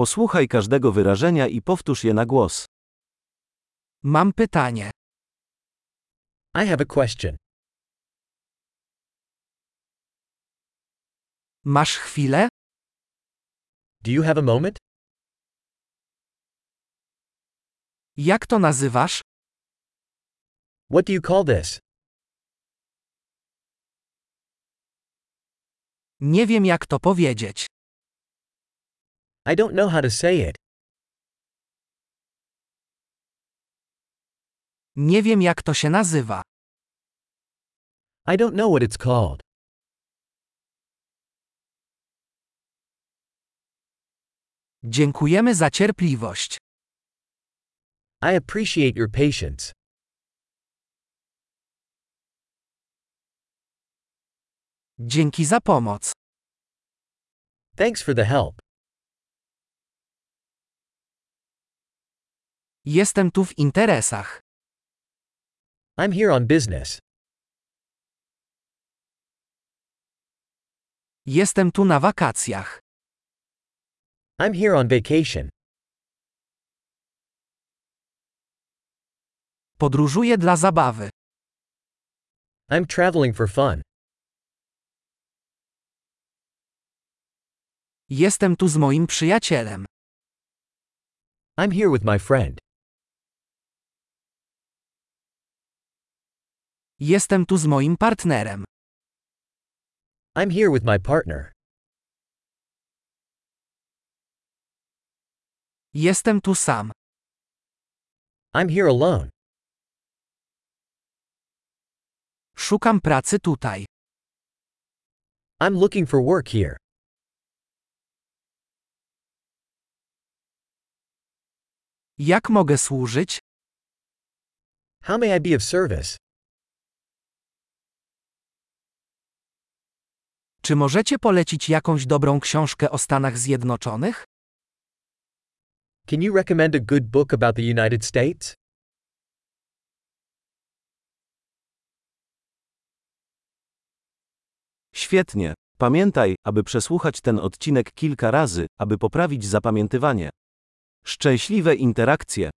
Posłuchaj każdego wyrażenia i powtórz je na głos. Mam pytanie. I have a question. Masz chwilę? Do you have a moment? Jak to nazywasz? What do you call this? Nie wiem jak to powiedzieć. I don't know how to say it. Nie wiem jak to się nazywa. I don't know what it's called. Dziękujemy za cierpliwość. I appreciate your patience. Dzięki za pomoc. Thanks for the help. Jestem tu w interesach. I'm here on business. Jestem tu na wakacjach. I'm here on vacation. Podróżuję dla zabawy. I'm traveling for fun. Jestem tu z moim przyjacielem. I'm here with my friend. Jestem tu z moim partnerem. I'm here with my partner. Jestem tu sam. I'm here alone. Szukam pracy tutaj. I'm looking for work here. Jak mogę służyć? How may I be of service? Czy możecie polecić jakąś dobrą książkę o Stanach Zjednoczonych? Can you recommend a good book about the United States? Świetnie. Pamiętaj, aby przesłuchać ten odcinek kilka razy, aby poprawić zapamiętywanie. Szczęśliwe interakcje.